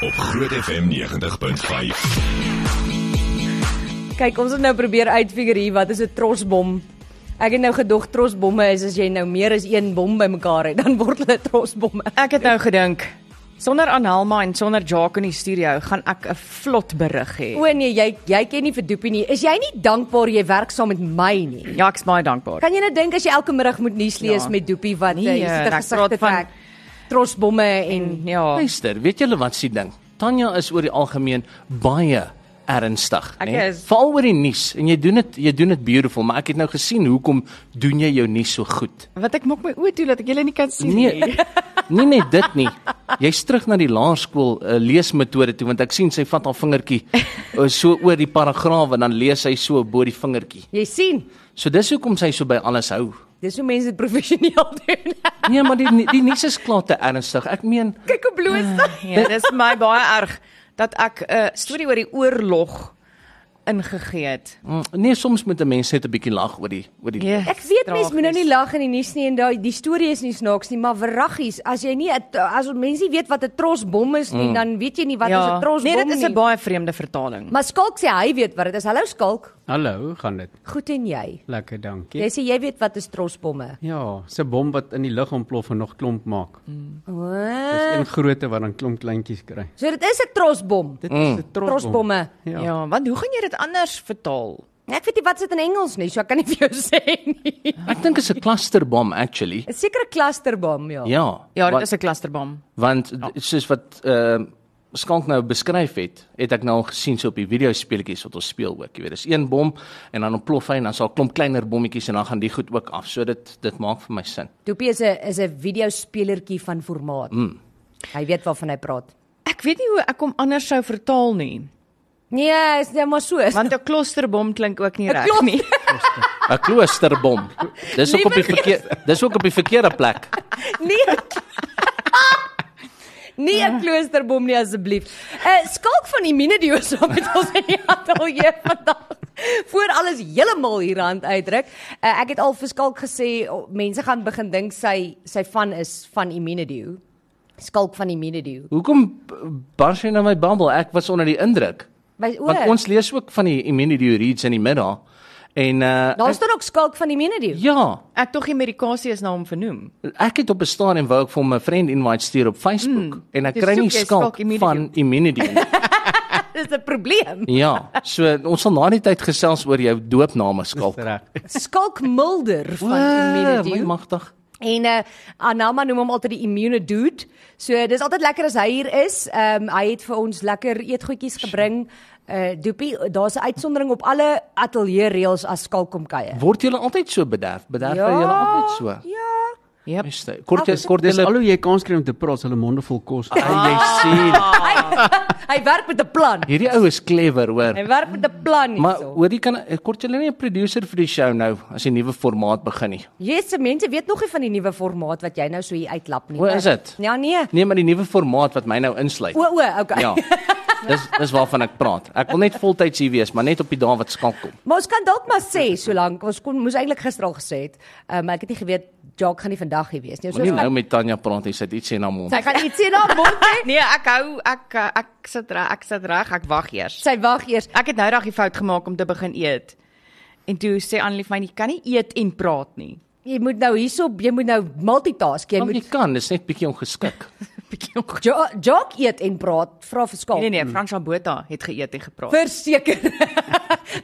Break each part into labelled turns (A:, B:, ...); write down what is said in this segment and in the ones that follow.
A: op Groot FM 90.5.
B: Kyk, ons het nou probeer uitfigure hier wat is 'n trosbom. Ek het nou gedog trosbomme is as jy nou meer as een bom bymekaar het, dan word hulle trosbomme.
C: Ek het nou gedink sonder Anhelma en sonder Jacques in die studio gaan ek 'n vlot berig hê.
B: O nee, jy jy ken nie vir Doopie nie. Is jy nie dankbaar jy werk saam met my nie?
C: Ja, ek's baie dankbaar.
B: Kan jy nou dink as jy elke middag moet nuus lees
C: Ja.
B: met Doopie wat
C: Nee,
B: nee, jy
C: eh,
B: sit
C: ek praat
B: gesigte
C: van-
B: van trosbomme en
C: Ja.
D: Luister, weet julle wat s'ie ding? Tanya is oor die algemeen baie ernstig,
C: Ek
D: né?
C: is.
D: Veral oor die nuus en jy doen dit jy doen dit beautiful, maar ek het nou gesien hoekom doen jy jou nuus so goed?
C: Wat ek maak my oë toe dat ek julle nie kan sien nie.
D: Nee. Nie net dit nie. Jy's terug na die laerskool uh, leesmetode toe want ek sien sy vat haar vingertjie uh, so oor die paragraaf en dan lees sy so bo die vingertjie.
B: jy sien,
D: So dis hoekom sy so by alles hou.
B: dis hoe mense dit professioneel doen.
D: Nee, maar die die nuus is klaar te ernstig. Ek meen
B: Kyk hoe bloos hy.
C: Ja, dis vir my baie erg dat ek 'n uh, storie oor die oorlog ingegee het.
D: mm, nee, soms moet 'n mens net 'n bietjie lag oor die oor die
C: Yes,
B: Ek weet mense moet nou nie lag in die nuus nie en daai die storie is nie snaaks nie, maar verraggies, as jy nie 'n- as mense nie weet wat 'n trosbom is nie, mm. dan weet jy nie wat ja. is 'n trosbom
C: Nee,
B: nie.
C: dit is 'n baie vreemde vertaling.
B: Maar Skalk sê hy weet wat dit is. Hallo Skalk.
E: Hallo, hoe gaan dit?
B: Goed en jy?
E: Lekker, dankie.
B: Jy sê jy weet wat is trosbomme.
E: Ja, se bom wat in die lug ontplof en nog klomp maak. Dis
B: O.
E: een grootte wat dan klomp kleintjies kry.
B: So dit is 'n trosbom.
E: Dit is 'n trosbom.
B: Trosbomme.
E: Ja. ja.
C: Ja, want hoe gaan jy dit anders vertaal?
B: Ek weet nie wat dit in Engels nie, so ek kan nie vir jou sê nie.
D: Ek dink is 'n clusterbom actually.
B: 'n Sekere clusterbom, ja.
D: Ja.
C: Ja, dit
D: want,
C: is 'n klasterbom.
D: want d- soos wat ehm uh, Skank nou beskryf het, het ek nou al gesien so op die videospeletjies wat ons speel ook. Jy weet, dis een bom en dan ontplof hy en dan sal klomp kleiner bommetjies en dan gaan die goed ook af. So dit dit maak vir my sin.
B: Doopie is 'n is 'n videospelertjie van formaat. Mm. Hy weet waarvan hy praat.
C: Ek weet nie hoe ek hom anders sou vertaal nie,
B: Nee, is nou maar so.
C: want 'n klosterbom klink ook nie
B: 'n
C: reg
B: klos-
C: nie.
D: 'n Kloosterbom. Dis ook op die verkeer dis ook op die verkeerde plek.
B: Nee. Nee, 'n kloosterbom nie asseblief. 'n uh, Skalk van Imine Dio saam met ons in die ateljee vandag. Voor alles heeltemal hier hand uitdruk. Uh, ek het al vir Skalk gesê oh, mense gaan begin dink sy sy van is van Imine Dio. Skalk van Imine Dio.
D: Hoekom b- bars jy nou my bubble? Ek was onder die indruk.
B: My oor.
D: Want ons lees ook van die immunity reads in die middag en uh
B: Daar
D: ek,
B: staan ook Skalk van Imine Dio.
D: ja,
C: Ek tog die medikasie is na hom vernoem.
D: Ek het op 'n stadium wou ek vir my vriend invite stuur op Facebook mm, en ek
C: Dis
D: kry nie
C: soek jy
D: skalk
C: skalk immunity.
D: van immunity. nie.
B: Dis 'n probleem.
D: ja, so ons sal na die tyd gesels oor jou doopname skalk.
E: Reg.
B: Skalk Mulder van Imine
D: Wow, my
B: Dio.
D: Magtig.
B: En eh Anama noem hom altyd die immune dude. So dis altyd lekker as hy hier is. Ehm hy het vir ons lekker eetgoedjies gebring. Eh Doopie, daar's 'n uitsondering op alle ateljee reëls as skalk kom kuier.
D: Word jy altyd so bederf? Bederf ja,
B: Ja.
D: jy altyd so?
B: Ja.
C: Yep.
D: Juiste. Kort jy kort
E: Dis
D: jy
E: al hoe jy kans kry om te praat, hulle monde vol kos.
D: Ah, jy sien.
B: Hy hy werk met 'n plan.
D: Hierdie ou is clever, hoor.
B: Hy werk met 'n plan
D: Maar
B: hierso.
D: hoorie kan kort jy nie 'n producer vir die show nou as die nuwe formaat begin nie.
B: Jesse, mense weet nog nie van die nuwe formaat wat jy nou so hier uitlap nie.
D: Hoe is dit?
B: Ja nee.
D: Nee, maar die nuwe formaat wat my nou insluit.
B: O o, okay.
D: Ja. Dis dis waarvan ek praat. Ek wil net voltyds hier wees, maar net op die dae wat skalk kom.
B: Maar ons kan dalk maar sê solank ons kon moes eintlik gister al gesê het. Ehm um, ek het nie geweet Jacques gaan nie vandag hier wees nie. Ons
D: Moenie
B: kan-
D: nou met Tanya praat, hy sê iets sê na mond.
B: sy gaan iets sê na mond hê.
C: Nee, ek hou ek eh, ek sit reg, ek sit reg, ek wag eers.
B: Sy wag eers.
C: Ek het nou dag die fout gemaak om te begin eet. En toe sê Annelie vir my, "Jy kan nie eet en praat nie."
B: Jy moet nou hierop, jy moet nou multitask. Jy
D: Jy, Nou, jy
B: moet
D: kan, dis net bietjie ongeskik.
C: Bietjie onge-
B: jo- jog eet en praat, vra vir skaal.
C: Nee nee, Franswa Botha het geëet en gepraat.
B: Verseker.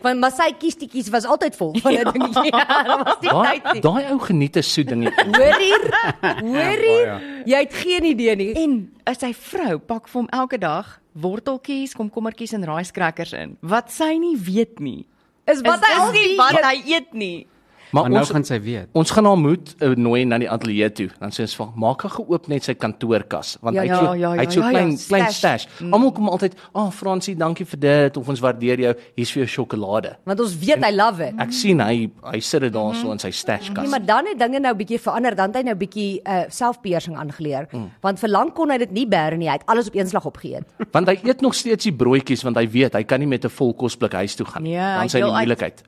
B: Want maar sy kiestietjies was altyd vol van
C: Ja.
B: 'n dingetjie. Daar was nie
D: Daai
B: tyd nie.
D: daai ou geniet 'n soet dingetjie.
B: Hoor hier. Hoor hier. Jy het geen idee nie.
C: En as sy vrou pak vir hom elke dag worteltjies, komkommertjies en raaiskrakkers in. Wat sy nie weet nie.
B: Is wat
C: is
B: hy
C: dis
B: al
C: nie
B: die
C: wat hy eet nie.
D: Maar
E: Maar nou
D: ons
E: gaan sy weet.
D: ons gaan haar moed uh, nooi na die ateljee toe. Dan sê ons vir haar, maak haar geoop net sy kantoorkas, want
C: Ja,
D: hy het so
C: ja, ja,
D: hy het
C: ja,
D: so
C: ja, ja,
D: klein klein
C: stash.
D: stash. Almal kom altyd, "Ag oh, Fransie, dankie vir dit of ons waardeer jou. Hier's vir jou sjokolade."
B: Want ons weet hy love it.
C: Ja.
D: Ek sien hy hy sit dit daar so in sy stashkas.
B: Nee, maar dan het dinge nou bietjie verander, dan het hy nou bietjie uh, selfbeheersing aangeleer. Mm. Want vir lank kon hy dit nie bær nie. Hy het alles op een slag opgeëet.
D: Want hy eet nog steeds die broodjies want hy weet hy kan nie met 'n vol kosblik huis toe gaan nie.
C: Ja,
D: dan sy
C: hy
D: die
C: deel uit.
D: moeilikheid.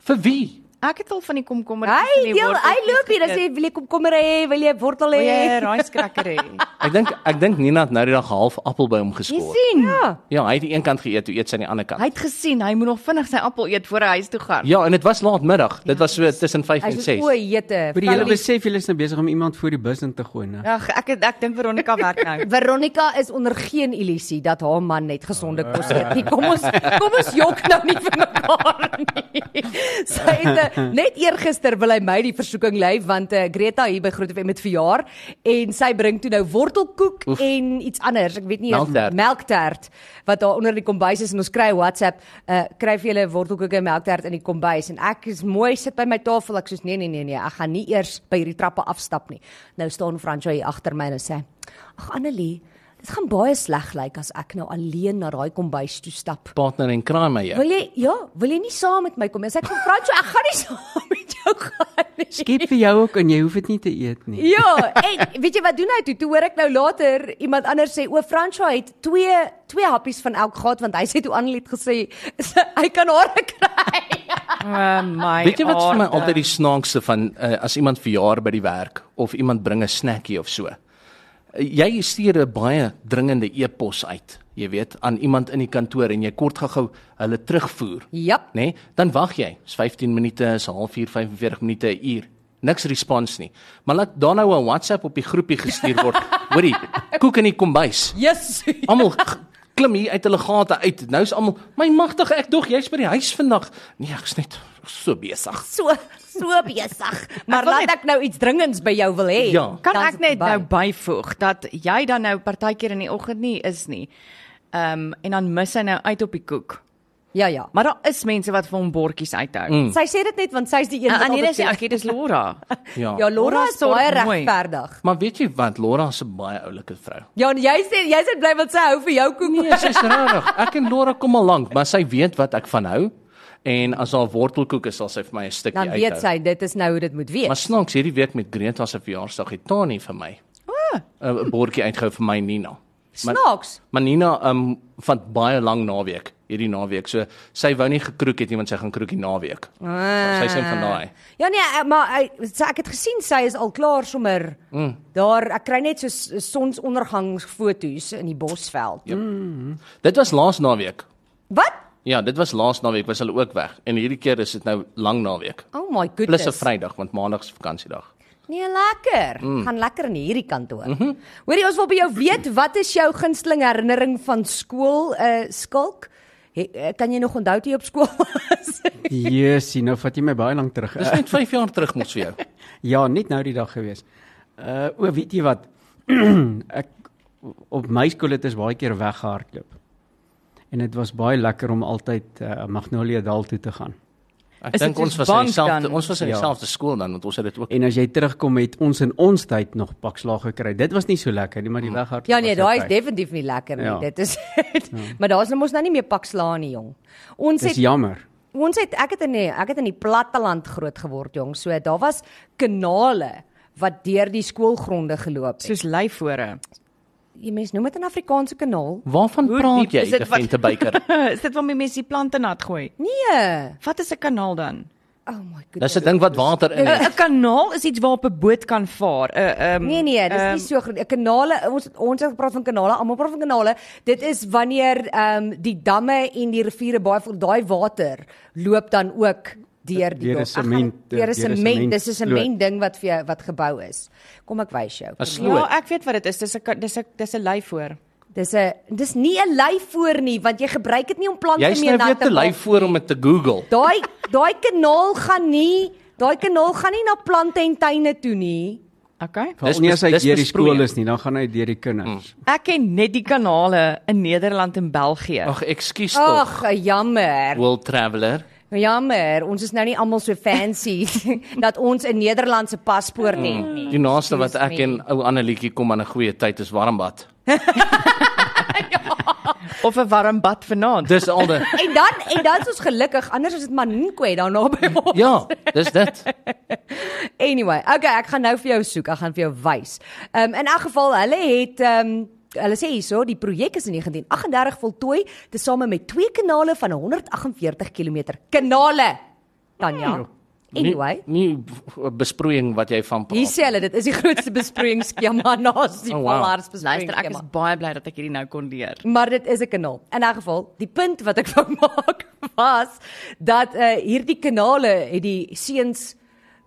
D: Vir wie?
C: Ek het al van die komkommertjies
B: Hy deel, hy loop hier en sê wil jy komkommer hê, wil jy wortel hê?
C: "Oye, raaiskrekker hê."
D: Ek dink ek dink Nina het nou die dag half appel by hom
C: Jy
D: geskoor.
C: sien?
B: Ja.
D: Ja, hy het die een kant geëet, toe eet sy aan die ander kant.
C: Hy het gesien hy moet nog vinnig sy appel eet voor hy huis toe gaan.
D: Ja, en dit was laatmiddag. Dit was
C: Ja,
D: so tussen 5
B: Hy
D: en
B: sê
D: 6.
B: o, jete.
E: Maar jy
B: Van die-
E: besef jy is nou besig om iemand voor die bus in te gooi, né?
C: Ag, ek het- ek dink Veronica werk nou.
B: Veronica is onder geen illusie dat haar man net gesonde kos eet nie. Kom ons kom ons jok nou nie vir mekaar nie. Sy het eh, net eergister wil hy my die versoeking lei want eh, Greta hier by Groot FM met verjaar en sy bring toe nou wortelkoek
D: Oef.
B: en iets anders. Ek weet nie
D: Melktert.
B: melktert wat daar onder die kombuis is en ons kry 'n WhatsApp, uh, kry vir julle wortelkoek en melktert in die kombuis en ek is mooi sit by my tafel. Ek sê nee nee nee nee, ek gaan nie eers by hierdie trappe afstap nie. Nou staan Francois hier agter my en hy sê: "Ag Annelie, dit gaan baie sleg lyk as ek nou alleen na daai kombuis toe stap."
D: Partner en kraai my jou.
B: Wil jy ja, wil jy nie saam met my kom nie? As ek vir Francois, ek gaan nie saam met jou gaan nie.
E: Skep vir jou ook en jy hoef dit nie te eet nie.
B: Ja, en weet jy wat doen hy toe? Toe hoor ek nou later iemand anders sê o, Fransha het twee twee happies van elk gehad want hy sê toe Anneliet gesê hy kan haar kry.
C: Oh my.
D: Weet jy wat vir my
C: aarde.
D: altyd die snaakste van uh, as iemand verjaar by die werk of iemand bring 'n snackie of so. Uh, Jy stuur 'n baie dringende e-pos uit, jy weet, aan iemand in die kantoor en jy kort gou-gou hulle terugvoer, nê?
B: Jap.
D: Nee, dan wag jy. Dis 15 minute, is 'n halfuur, 45 minute, 'n uur. Niks respons nie. Maar laat dan nou 'n WhatsApp op die groepie gestuur word. Hoorie, koek in die kombuis.
B: Yes.
D: Almal g- klim hier uit hulle gate uit. Nou's almal, my magtige, ek dog jy's by die huis vandag. Nee, ek's net so besig.
B: So so besig. Maar
C: wil net-
B: laat ek nou iets dringends by jou wil hê.
D: Ja.
C: Kan
B: dan is dit
C: ek net
B: verby.
C: nou byvoeg dat jy dan nou partykeer in die oggend nie is nie. Ehm um, en dan mis hy nou uit op die koek.
B: Ja ja.
C: Maar daar is mense wat vir hom bordjies uithou. Mm.
B: Sy sê dit net want sy's die een
C: En
B: wat
C: nee, dis
B: altyd-
C: ek, dis Laura.
D: Ja.
B: Ja, Laura is
C: Laura
B: baie
C: sorg mooi.
B: regverdig.
D: Maar weet jy wat, Laura is 'n baie oulike vrou.
B: Ja, en jy sê jy sê bly wat sy hou vir jou koek.
D: Nee, sy's rarig. Ek en Laura kom al lank, maar sy weet wat ek van hou. En as haar wortelkoek is, sal sy vir my 'n stukkie
B: Dan
D: uithou.
B: weet sy dit is nou hoe dit moet wees.
D: Ja, Maar snaaks hierdie week met Greta se verjaarsdag het Tani vir my 'n oh. bordjie uitgehou vir my Nina. Maar-
B: Snaaks.
D: Maar Nina um van baie lang naweek, hierdie naweek. So sy wou nie gekroek het nie, want sy gaan kroek die naweek.
B: Ah.
D: Sy sê van daai.
B: Ja nee, eh, maar eh, sy- ek het gesien sy is al klaar sommer. Mm. Daar ek kry net so s- eh, sonsondergangsfoto's in die Bosveld. Yep.
D: Dit was laas naweek.
B: Wat?
D: Ja, dit was laas naweek was hulle ook weg en hierdie keer is dit nou lang naweek.
B: Oh my goodness.
D: Plus 'n Vrydag want Maandag is vakansiedag.
B: Nee, lekker. Mm. Gaan lekker in hierdie kantoor. Mm -hmm. Hoorie, ons wil by jou weet, wat is jou gunsteling herinnering van skool? Uh skalk? He, eh, kan jy nog onthou toe jy op skool was?
E: Jessie, nou vat jy my baie lank terug.
D: Dis net 5 jaar terug mos vir jou.
E: Ja, net nou die dag gewees. Uh o, weet jy wat? ek op my skool het ons baie keer weggehardloop. En dit was baie lekker om altyd uh, Magnolia Dal toe te gaan.
D: Ek
C: Is
D: dink
C: dit
D: ons
C: soos
D: was in
C: bank
D: dieselfde
C: dan?
D: ons was in
E: Ja.
D: dieselfde skool dan want ons het dit ook.
E: En as jy terugkom het ons in ons tyd nog pakslaag gekry. Dit was nie so lekker nie, maar die weghardloop.
B: ja nee,
E: was
B: daai is
E: lekker.
B: definitief nie lekker nie. Ja.
E: Ja.
B: Dit is Maar daar's nou mos nou nie meer pakslaan nie, jong. Ons het
E: Dis jammer.
B: Ons het ek het in die, ek het in die platteland groot geword jong. So daar was kanale wat deur die skoolgronde geloop het.
C: Soos lyfhore.
B: Jy mens noem dit 'n Afrikaanse kanaal?
D: Waarvan
C: Hoe diep
D: praat jy,
C: is dit wat-
D: Evente Baker?
C: is dit waarmee mense die plante nat gooi?
B: Nee.
C: Wat is 'n kanaal dan?
B: Oh my goodness.
D: Dis 'n ding wat water in
C: 'n
D: het.
C: 'n Kanaal is iets waarop 'n boot kan vaar. 'n ehm
B: Nee nee, dis nie so groot. Kanale, ons ons het gepraat van kanale, almal praat van kanale. Dit is wanneer ehm um, die damme en die riviere baie vol daai water loop dan ook deur die
E: Deur
B: dorp.
E: 'n
B: Ek gaan-
E: sement,
B: deur 'n
E: deur 'n
B: sement, dis 'n
E: sementsloot.
B: sement ding wat vir jou wat gebou is. Kom ek wys jou.
D: 'n Sloot.
C: Ja, ek weet wat dit is. Dis 'n ka- dis 'n dis 'n lyfhoor.
B: Dis 'n dis nie 'n lyf voor nie want jy gebruik dit nie om plante
D: Jy's nou
B: mee
D: weer te lui voor om dit te Google.
B: Daai daai kanaal gaan nie, daai kanaal gaan nie na plante en tuine toe nie.
C: Okay.
D: Dis
E: Dis nie as hy
D: bes- dis
E: deur die
D: besproeiing.
E: skool is nie, dan gaan hy deur die kinders. Mm.
C: Ek ken net die kanale in Nederland en België.
D: Ag, ekskuus tog.
B: Ag, jammer.
D: World Traveller.
B: Jammer, ons is nou nie almal so fancy dat ons 'n Nederlandse
D: Hmm.
B: paspoort het nie.
D: Die naaste wat
B: Excuse
D: ek
B: me.
D: en ou Annelietjie kom aan 'n goeie tyd is warmbad.
C: Of 'n warm bad vanaand.
D: Dis al die
B: En dan en dan is ons gelukkig, anders is dit maar Nkwe daar naby ons.
D: Ja, dis dit.
B: Anyway, okay, ek gaan nou vir jou soek. Ek gaan vir jou wys. Ehm um, in elk geval, hulle het ehm um, hulle sê hierso, die projek is in 1938 voltooi tesame met twee kanale van 148 km. Kanale. Tanya. Anyway,
D: nie, nie v- besproeiing wat jy van
B: hier sê hulle dit is die grootste besproeiingsskema naas die
D: Oh,
B: oh,
D: wow.
B: wow.
C: Luister, ek
B: besproeiingsskema.
C: is baie bly dat ek hierdie nou kon leer.
B: Maar dit is 'n kanaal. In 'n geval, die punt wat ek wou maak was dat uh hierdie kanale het die seuns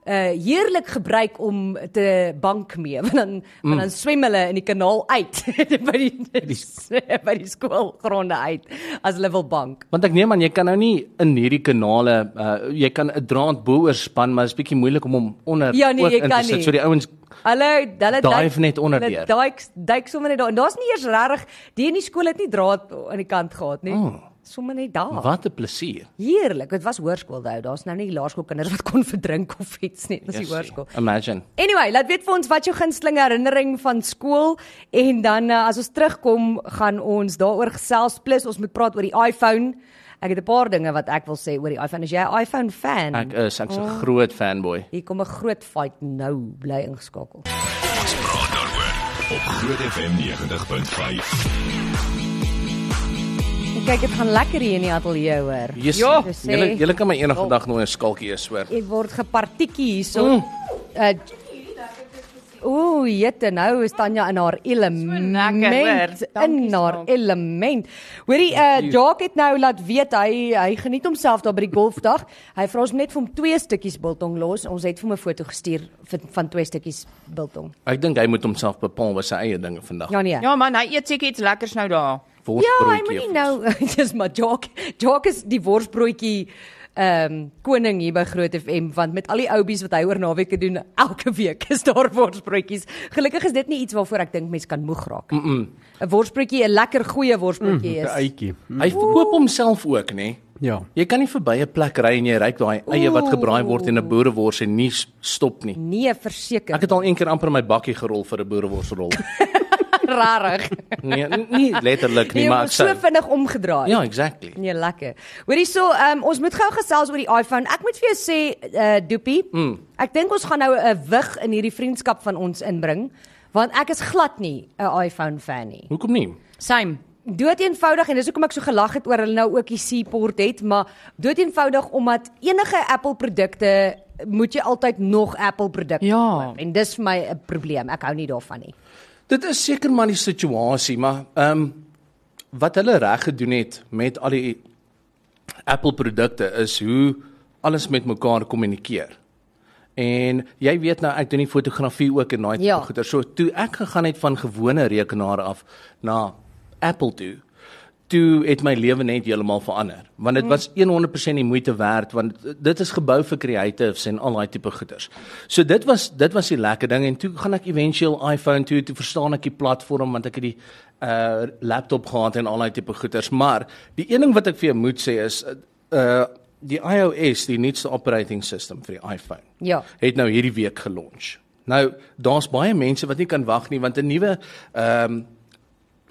B: uh heerlik gebruik om te bank mee want dan mm. want dan swem hulle in die kanaal uit by die by die skoolgronde uit as hulle wil bank.
D: Want ek neem aan jy kan nou nie in hierdie kanale uh, jy kan 'n draad bo oorspan, maar dit is bietjie moeilik om hom onder
B: Ja, nee,
D: ook
B: jy
D: in
B: kan
D: te sit.
B: nie.
D: So die ouens
B: Hulle hulle
D: Dive net onder
B: hulle
D: deur.
B: Duik duik sommer net daar. En daar's nie eers regtig die in die skool het nie draad aan die kant gehad nie.
D: Oh.
B: Oh. Sommer net daar.
D: wat 'n plesier.
B: Heerlik. Dit was hoërskool daai. Daar's nou nie laerskoolkinders wat kon verdrink of iets nie. Dis die
D: Jessie,
B: hoërskool.
D: Imagine.
B: Anyway, laat weet vir ons wat jou gunsteling herinnering van skool en dan uh, as ons terugkom gaan ons daaroor gesels plus ons moet praat oor die iPhone. Ek het 'n paar dinge wat ek wil sê oor die iPhone. As jy 'n iPhone fan,
D: Ek eh, is ek's 'n
B: Oh.
D: groot fanboy.
B: hier kom 'n groot fight nou, bly ingeskakel.
A: Praat daaroor op Groot FM 90.5.
B: En kyk, dit gaan lekker hier in die ateljee hoor.
D: Yes.
C: Ja.
B: Dis sê-
D: Julle julle kan my
B: Oh.
D: eendag vandag nou 'n skalkie eers hoor.
B: Ek word gepartiekie hierso. Mm. Uh, Ooh, jette nou is Tanya in haar element.
C: lekker, hoor.
B: in
C: Dankie,
B: haar
C: Skalk.
B: element. Hoorie, uh Jacques het nou laat weet hy hy geniet homself daar by die golfdag. Hy vra ons om net vir hom twee stukkies biltong los. Ons het vir hom 'n foto gestuur van, van twee stukkies biltong.
D: Ek dink hy moet homself bepaal wat sy eie dinge vandag.
B: Ja nee.
C: Ja man, hy eet seker iets lekkers nou daar.
B: Ja, hy moet nie nou dis maar Jock. Jock is die worsbroodjie ehm um, koning hier by Groot FM want met al die oubies wat hy oor naweke doen, elke week is daar worsbroodjies. Gelukkig is dit nie iets waarvoor ek dink mense kan moeg raak. 'n mm Worsbroodjie, 'n lekker goeie worsbroodjie is.
E: Uitjie.
D: Mm,
B: nou-
D: Hy verkoop homself ook, nê?
E: Ja.
D: Jy kan nie verby 'n plek ry en jy ryk daai eie wat gebraai word en 'n boerewors en nie s- stop nie.
B: Nee, verseker.
D: Ek het al een keer amper my bakkie gerol vir 'n boereworsrol.
B: rarig.
D: Nee, n- nie letterlik nie,
B: Jy
D: Nee, maar
B: word
D: ek
B: Nee, so
D: sou.
B: vinnig omgedraai.
D: Ja, exactly.
B: Nee, lekker. Hoorie so, um, ons moet gou gesels oor die iPhone. Ek moet vir jou sê, uh, Doopie, mm. ek dink ons gaan nou 'n wig in hierdie vriendskap van ons inbring, want ek is glad nie 'n iPhone fan nie.
D: Hoekom nie?
C: Same.
B: Dood eenvoudig en dis hoekom ek so gelag het oor hulle nou ook die C-port het, maar dood eenvoudig omdat enige Apple produkte moet jy altyd nog Apple produkte
C: Ja.
B: koop en dis vir my 'n probleem. Ek hou nie daarvan nie.
D: Dit is seker maar die situasie, maar ehm um, wat hulle reg gedoen het met al die Apple produkte is hoe alles met mekaar kommunikeer. En jy weet nou ek doen die fotografie ook en daai tipe
B: Ja.
D: goeder. So toe ek gegaan het van gewone rekenaar af na Apple toe, toe het my lewe net heeltemal verander. Want dit was 100% die moeite werd want dit is gebou vir creatives en al daai tipe goeders. So dit was dit was die lekker ding en toe gaan ek eventueel iPhone toe toe verstaan ek die platform want ek het die uh laptop gehad en al daai tipe goeders, maar die een ding wat ek vir jou moet sê is uh die iOS, die nuutste operating system vir die iPhone
B: Ja.
D: het nou hierdie week gelons. Nou daar's baie mense wat nie kan wag nie want 'n nuwe ehm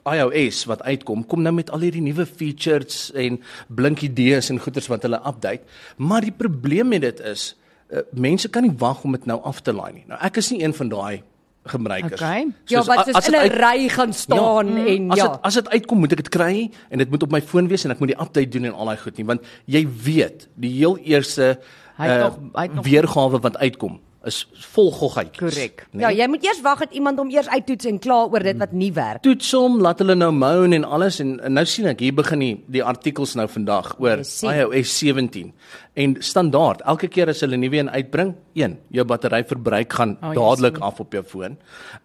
D: iOS wat uitkom, kom nou met al hierdie nuwe features en blink idees en goeders wat hulle update, maar die probleem met dit is uh, mense kan nie wag om dit nou af te laai nie. Nou ek is nie een van daai gebruikers.
C: Okay.
B: Ja,
D: a-
B: wat
D: as
B: soos in
D: dit
B: 'n
D: uit- Mm.
B: ry gaan staan ja, en
D: As
B: ja.
D: dit as dit uitkom, moet ek dit kry en dit moet op my foon wees en ek moet die update doen en al daai goed nie, want jy weet, die heel eerste
C: Hy het
D: eh,
C: nog- hy het nog-
D: weergawe wat uitkom is vol goggetjies.
C: Korrek.
D: Nee? Mm.
B: Ja, jy moet eers wag dat iemand hom eers uittoets en kla oor dit wat nie werk.
D: toets hom, laat hulle nou moan en alles en, en nou sien ek hier begin die, die artikels nou vandag oor
B: Jy sien.
D: iOS 17. En standaard, elke keer as hulle nuwe een uitbring, een, jou batteryverbruik gaan
C: jy
D: dadelik af op jou foon.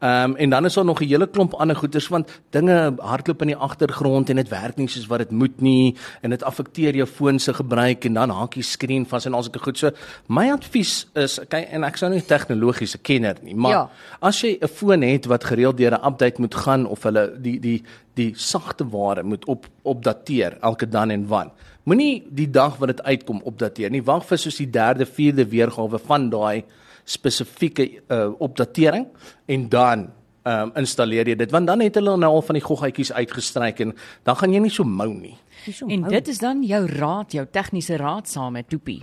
D: Ehm um, en dan is daar nog 'n hele klomp ander goeders want dinge hardloop in die agtergrond en dit werk nie soos wat dit moet nie en dit affekteer jou foon se gebruik en dan haak die skerm vas en al sulke goed. So my advies is, kyk en ek sou nie 'n tegnologiese kenner nie, maar ja.
B: Ja.
D: As jy 'n foon het wat gereeld deur 'n update moet gaan of hulle die die die sagte ware moet op opdateer elke dan en wan. Moenie die dag wat dit uitkom opdateer nie. Wag vir soos die derde, vierde weergawe van daai spesifieke uh, opdatering en dan ehm um, installeer jy dit want dan het hulle nou al van die goggetjies uitgestryk en dan gaan jy nie so mou nie.
C: En dit is dan jou raad, jou tegniese raad saam met Toepie.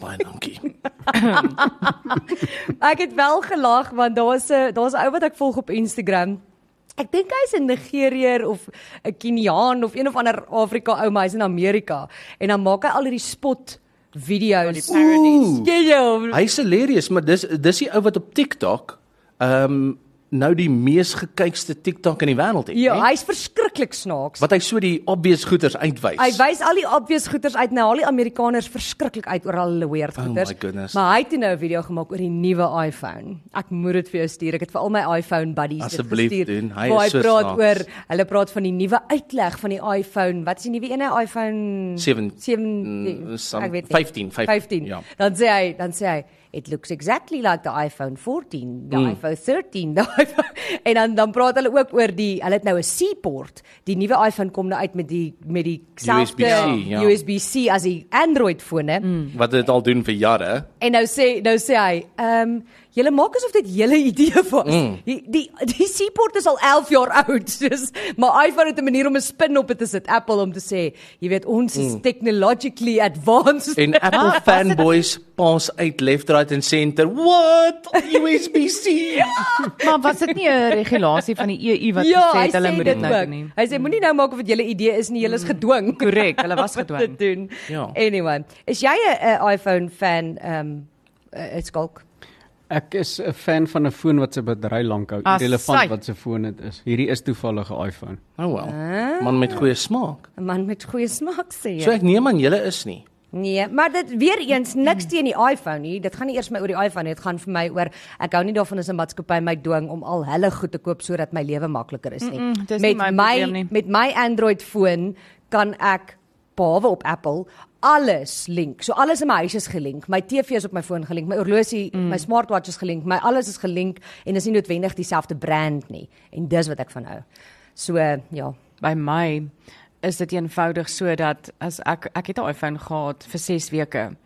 D: Baie dankie.
B: Ek het wel gelag want daar's 'n daar's 'n ou wat ek volg op Instagram. Ek dink hy's 'n Nigeriër of 'n Keniaan of een of ander Afrika ou, maar hy's in Amerika en dan maak hy al hierdie spot video's.
C: die parodies.
B: Skielik.
D: Hy's hilarious, maar dis dis die ou wat op TikTok ehm um, nou die mees gekykste TikTok in die wêreld het,
B: Ja,
D: né?
B: hy's verskriklik snaaks.
D: wat hy so die obvious goeters uitwys.
B: Hy wys al die obvious goeters uit nou al die Amerikaners verskriklik uit oor al hulle weird
D: Oh my
B: goeters.
D: goodness.
B: maar hy het toe nou 'n video gemaak oor die nuwe iPhone. Ek moet dit vir jou stuur. Ek het vir al my iPhone buddies dit
D: Asseblief
B: gestuur.
D: doen. Hy
B: waar
D: is so
B: praat
D: snaaks.
B: oor hulle praat van die nuwe uitleg van die iPhone. Wat is die nuwe een? nou? iPhone
D: Seven-
B: 7
D: mm, some-
B: ek weet nie.
D: 15, 15,
B: 15.
D: ja.
B: Dan sê hy, dan sê hy It looks exactly like the iPhone 14,
D: Hmm.
B: the iPhone 13, the iPhone en dan dan praat hulle ook oor die hulle het nou 'n C-port. Die nuwe iPhone kom nou uit met die met die selfde
D: USB-C, ja. Hmm.
B: USB-C as die Android fone.
D: wat dit al doen vir jare.
B: En nou sê nou sê hy, ehm julle maak asof dit julle idee was.
D: Hmm.
B: Die die die C-port is al 11 jaar oud, soos maar iPhone het 'n manier om 'n spin op dit te sit Apple om te sê, jy weet ons is technologically advanced.
D: Hmm. En
C: Ah.
D: Apple fanboys pas uit left right and center. What? USB-C.
C: Maar was dit nie 'n regulasie van die EU
B: Ja,
C: wat gesê het hulle moet dit nou doen nie?
B: Hy sê moenie nou maak of dit julle idee is nie, julle is gedwing.
C: Korrek, hulle was
B: om dit
C: gedwing.
B: te doen.
D: Ja.
B: Anyway, is jy 'n uh, iPhone fan ehm um, uh, skalk?
E: Ek is 'n fan van 'n foon wat se battery lank hou,
C: Ah, sy.
E: relevant wat se foon dit is. Hierdie is toevallig 'n iPhone.
D: Oh wel.
C: Ah.
D: Man met goeie smaak.
B: 'n Man met goeie smaak sê jy.
C: Ja.
D: So ek neem aan julle is nie.
B: Nee, maar dit weer eens niks teen die iPhone nie. Dit gaan nie eers my oor die iPhone nie, dit gaan vir my oor ek hou nie daarvan as 'n maatskappy my dwing om al hulle goed te koop sodat my lewe makliker is nie.
C: Mm-mm, dis nie
B: met
C: my
B: my
C: probleem nie.
B: met my Android foon kan ek behalwe op Apple alles link. So alles in my huis is gelink. My TV is op my foon gelink, my horlosie, mm. my smartwatch is gelink, my alles is gelink en is nie noodwendig dieselfde brand nie. En dis wat ek van hou. So ja.
C: By my is dit eenvoudig sodat as ek ek het 'n iPhone gehad vir 6 weke.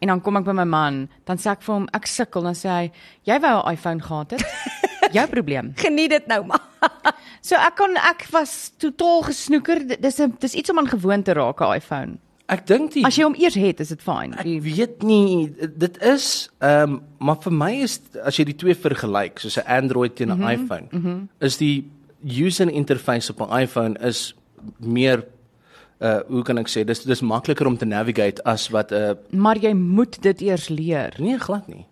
C: En dan kom ek by my man, dan sê ek vir hom ek sukkel, dan sê hy, jy wou 'n iPhone gehad het. jou probleem.
B: Geniet dit nou maar.
C: So ek kon ek was totaal gesnoeker. D- Dis 'n dis iets om aan gewoon te raak 'n iPhone.
D: Ek dink die
C: As jy hom eers het, is dit fyn.
D: Ek weet nie dit is ehm um, maar vir my is as jy die twee vergelyk soos 'n Android teen 'n
C: Mhm.
D: iPhone is die user interface op 'n iPhone is meer uh hoe kan ek sê dis dis makliker om te navigate as wat 'n uh,
C: Maar jy moet dit eers leer.
D: nee glad nie.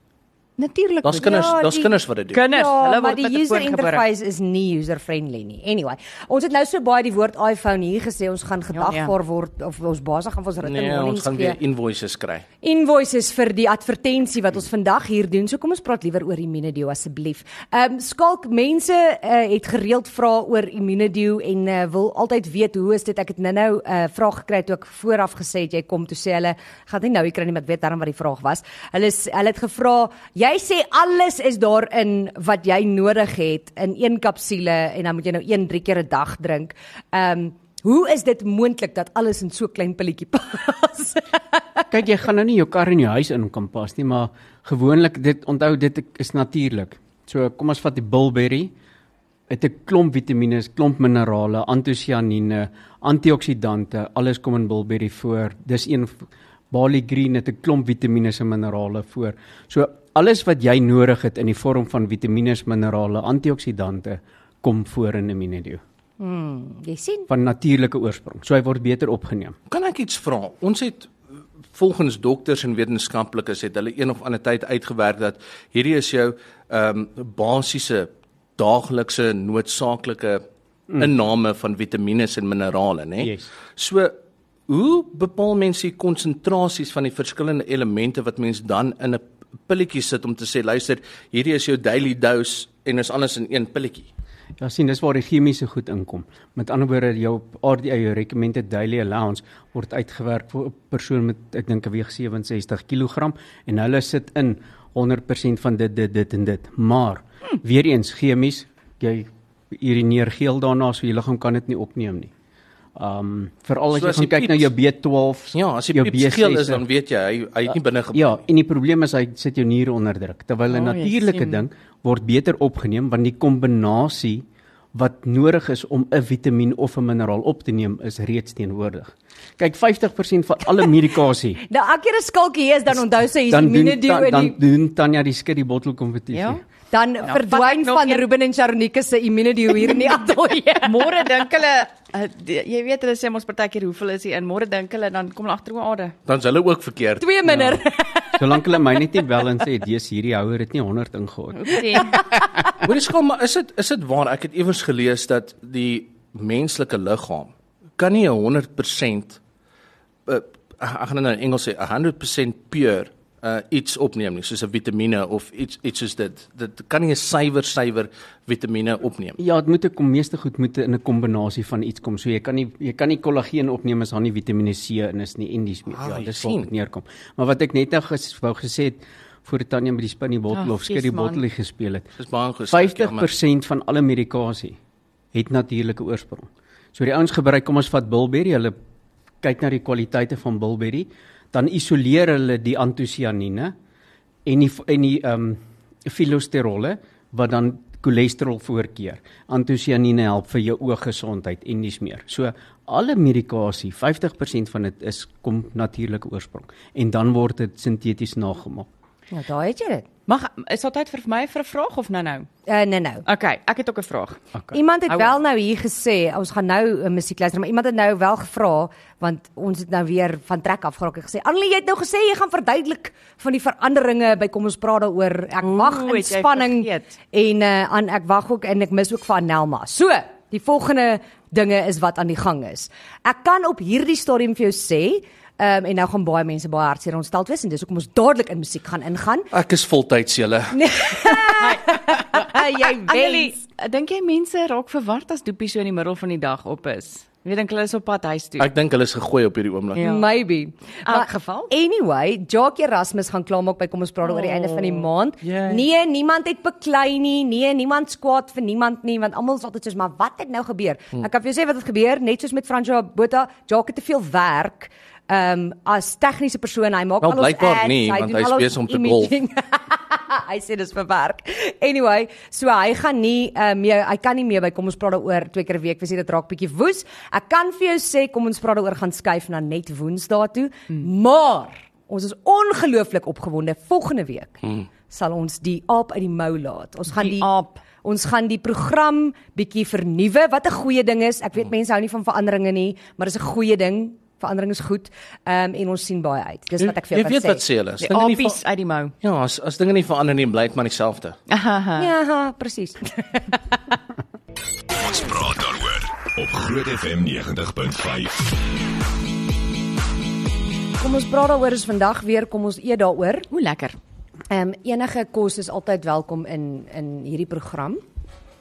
C: Natuurlik.
D: Daar's
C: moet-
D: kinders,
B: Ja,
D: daar's
B: die-
D: kinders wat dit doen.
C: Kinders,
B: ja,
C: hulle
B: maar
C: word
B: die
C: met 'n
B: user
C: foon gebore.
B: interface is nie user friendly nie. Anyway, ons het nou so baie die woord iPhone hier gesê, ons gaan gedagvaar
C: nee.
B: word of ons baas gaan vir ons ritme
D: Nee, ons gaan weer invoices kry.
B: invoices vir die advertensie wat ons vandag hier doen. So kom ons praat liewer oor Immunedio asseblief. Ehm um, skalk mense uh, het gereeld vrae oor Immunedio en uh, wil altyd weet hoe is dit? Ek het nou-nou 'n uh, vraag gekry toe ek vooraf gesê het jy kom toe sê hulle gaan nie nou hier kry nie, maar ek weet daarom wat die vraag was. Hulle is, hulle het gevra, jy sê alles is daarin wat jy nodig het in een kapsule en dan moet jy nou een drie keer 'n dag drink. Ehm um, Hoe is dit moontlik dat alles in so klein pilletjie pas?
E: Kyk, jy gaan nou nie jou kar in jou huis in kan pas nie, maar gewoonlik dit onthou dit is natuurlik. So kom ons vat die bilberry. Het 'n klomp vitamiene, klomp minerale, antosianine, antioksidante, alles kom in bilberry voor. Dis een Bali Green het 'n klomp vitamiene en minerale voor. So alles wat jy nodig het in die vorm van vitamiene, minerale, antioksidante kom voor in Aminedio
B: Jy sien,
E: van natuurlike oorsprong. So hy word beter opgeneem.
D: Kan ek iets vra? Ons het eh, volgens dokters en wetenskaplikes het hulle een of ander tyd uitgewerk dat hierdie is jou ehm um, basiese daaglikse noodsaaklike
B: Mm.
D: inname van vitamiene en minerale, né?
E: Yes.
D: So hoe bepaal mense die konsentrasies van die verskillende elemente wat mens dan in 'n pilletjie sit om te sê luister, hierdie is jou daily dose en is alles in een pilletjie.
E: Ja sien, dis waar die chemiese goed inkom. Met ander woorde, jou RDA, jou recommended daily allowance word uitgewerk vir 'n persoon met ek dink 'n weeg 67 kg en hulle sit in 100% van dit dit dit en dit. Maar hm. weer eens chemies, jy urineer geel daarna so jou liggaam kan dit nie opneem nie. Um veral as
D: So
E: jy
D: as
E: gaan
D: die
E: kyk na jou B12,
D: Ja, as
E: jou
D: die pieps geel is
E: B60.
D: dan weet jy hy hy het nie binne gebly
E: Ja, en die probleem is hy sit jou niere onder druk terwyl 'n
C: O, jy
E: natuurlike
C: sien.
E: ding word beter opgeneem want die kombinasie wat nodig is om 'n vitamien of 'n mineraal op te neem is reeds teenwoordig. Kyk, 50% van alle medikasie
B: Nou elke keer 'n skalkie is dan onthou sy is
E: dan doen
B: immunedio
E: dan,
B: in
E: dan
B: die
E: doen Tanya die skit die bottel kompetisie.
C: Ja.
B: dan verdwyn
C: vat ek nog
B: van
C: een- Nou.
B: Ruben en Sharonike se immunity hier in die ateljee.
C: Môre dink hulle eh, die- jy weet hulle sê mos partykeer hoeveel is hier en môre dink hulle dan kom hulle agter hoe aarde.
D: Dan is hulle ook verkeerd.
B: Twee minder.
E: Solank hulle my net nie bel en sê dis hierdie houer het nie 100 ingehoor.
C: Oepsie.
D: Hoor jy skom, maar is dit is dit waar ek het iewers gelees dat die menslike liggaam kan nie 100% uh, ek gaan dit nou in Engels sê 100% pure uh, iets opneem nie, soos 'n vitamiene of iets iets soos dit. Dit kan nie 'n suiwer suiwer vitamiene opneem.
E: Ja, dit moet 'n kom meeste goed moet in 'n kombinasie van iets kom. So jy kan nie jy kan nie kollageen opneem as daar nie Vitamiene C in is nie en dis
D: Ah,
E: ja,
D: jy
E: dis
D: sien.
E: waar dit neerkom. Maar wat ek net nou ges, wou gesê het voor Tanya met die spin in die bottel
C: Ah,
E: of skit die
C: vies, man.
E: bottel die gespeel het.
D: Dis baie goed. Ja,
E: 50% van alle medikasie het natuurlike oorsprong. So die ouens gebruik kom ons vat bilberry, hulle kyk na die kwaliteite van bilberry, dan isoleer hulle die antosianine en die en die ehm um, filosterolle wat dan cholesterol voorkeer. Antosianine help vir jou ooggesondheid en dis meer. So alle medikasie, 50% van dit is kom natuurlike oorsprong en dan word dit sinteties nagemaak.
B: Ja, daar het jy dit.
C: Mag is daar tyd vir my vir 'n vraag of nou-nou?
B: Uh, nee nou.
C: Okay, ek het ook 'n vraag.
E: Okay.
B: Iemand het
C: Hou
B: wel nou hier gesê, ons gaan nou 'n musiek luister, maar iemand het nou wel gevra want ons het nou weer van trek af geraak en gesê, "Annelie, jy het nou gesê jy gaan verduidelik van die veranderinge by kom ons praat daaroor. Ek wag
C: Ooh,
B: in
C: het jy
B: spanning
C: vergeet.
B: en uh, aan ek wag ook en ek mis ook van Nelma." So, die volgende dinge is wat aan die gang is. Ek kan op hierdie stadium vir jou sê Ehm um, en nou gaan baie mense baie hartseer ontsteld wees en dis hoekom ons dadelik in musiek gaan ingaan.
D: Ek is voltyds julle.
B: Nee. Uh, jy
C: Annelie,
B: weet,
C: ja, dink jy mense raak verward as doopie so in die middel van die dag op is? Jy dink hulle is op pad huis toe.
D: Ek dink hulle is gegooi op hierdie oomblik.
C: Ja.
B: Maybe. Maar
C: geval.
B: Anyway, Jock Erasmus gaan klaarmaak by kom ons praat oor die einde van die
C: Oh,
B: maand. Nee, niemand het beklei nie. Nee, niemand skwaad vir niemand nie want almal is altyd soos maar wat het nou gebeur?
C: Hmm.
B: Ek kan vir jou sê wat het gebeur, net soos met Francois Botha, Jock het te veel werk. Ehm um, as tegniese persoon, hy maak
D: Wel,
B: al ons
D: blykbaar
B: ads,
D: nie,
B: hy
D: want
B: doen
D: hy is
B: al ons
D: besig om te
B: imaging. hy sê dis vir werk. Anyway, so hy gaan nie uh, meer hy kan nie meer by kom ons praat daaroor twee keer 'n week. Ek sê dit raak bietjie woes. Ek kan vir jou sê kom ons praat daaroor gaan skuif na net Woensdae toe.
D: Hmm.
B: Mm. Maar ons is ongelooflik opgewonde volgende week.
D: Hmm.
B: Mm. Sal ons die aap uit die mou laat. Ons gaan die,
C: Die aap.
B: Ons gaan die program bietjie vernuwe. Wat 'n goeie ding is. Ek weet
D: Hmm.
B: mense hou nie van veranderinge nie, maar dis 'n goeie ding. Verandering is goed. Ehm um, en ons sien baie uit. Dis wat ek vir jou
D: Jy
B: kan sê.
D: weet wat sê hulle. As
C: Die
D: dinge nie ver-
C: apies uit die mou.
D: Ja, as as dinge nie verander nie, bly dit maar dieselfde.
B: Ja, presies.
A: Ons praat daaroor op Groot FM 90.5.
B: Kom ons praat daaroor is vandag weer kom ons eet daaroor.
C: Hoe lekker.
B: Ehm enige kos is altyd welkom in in hierdie program.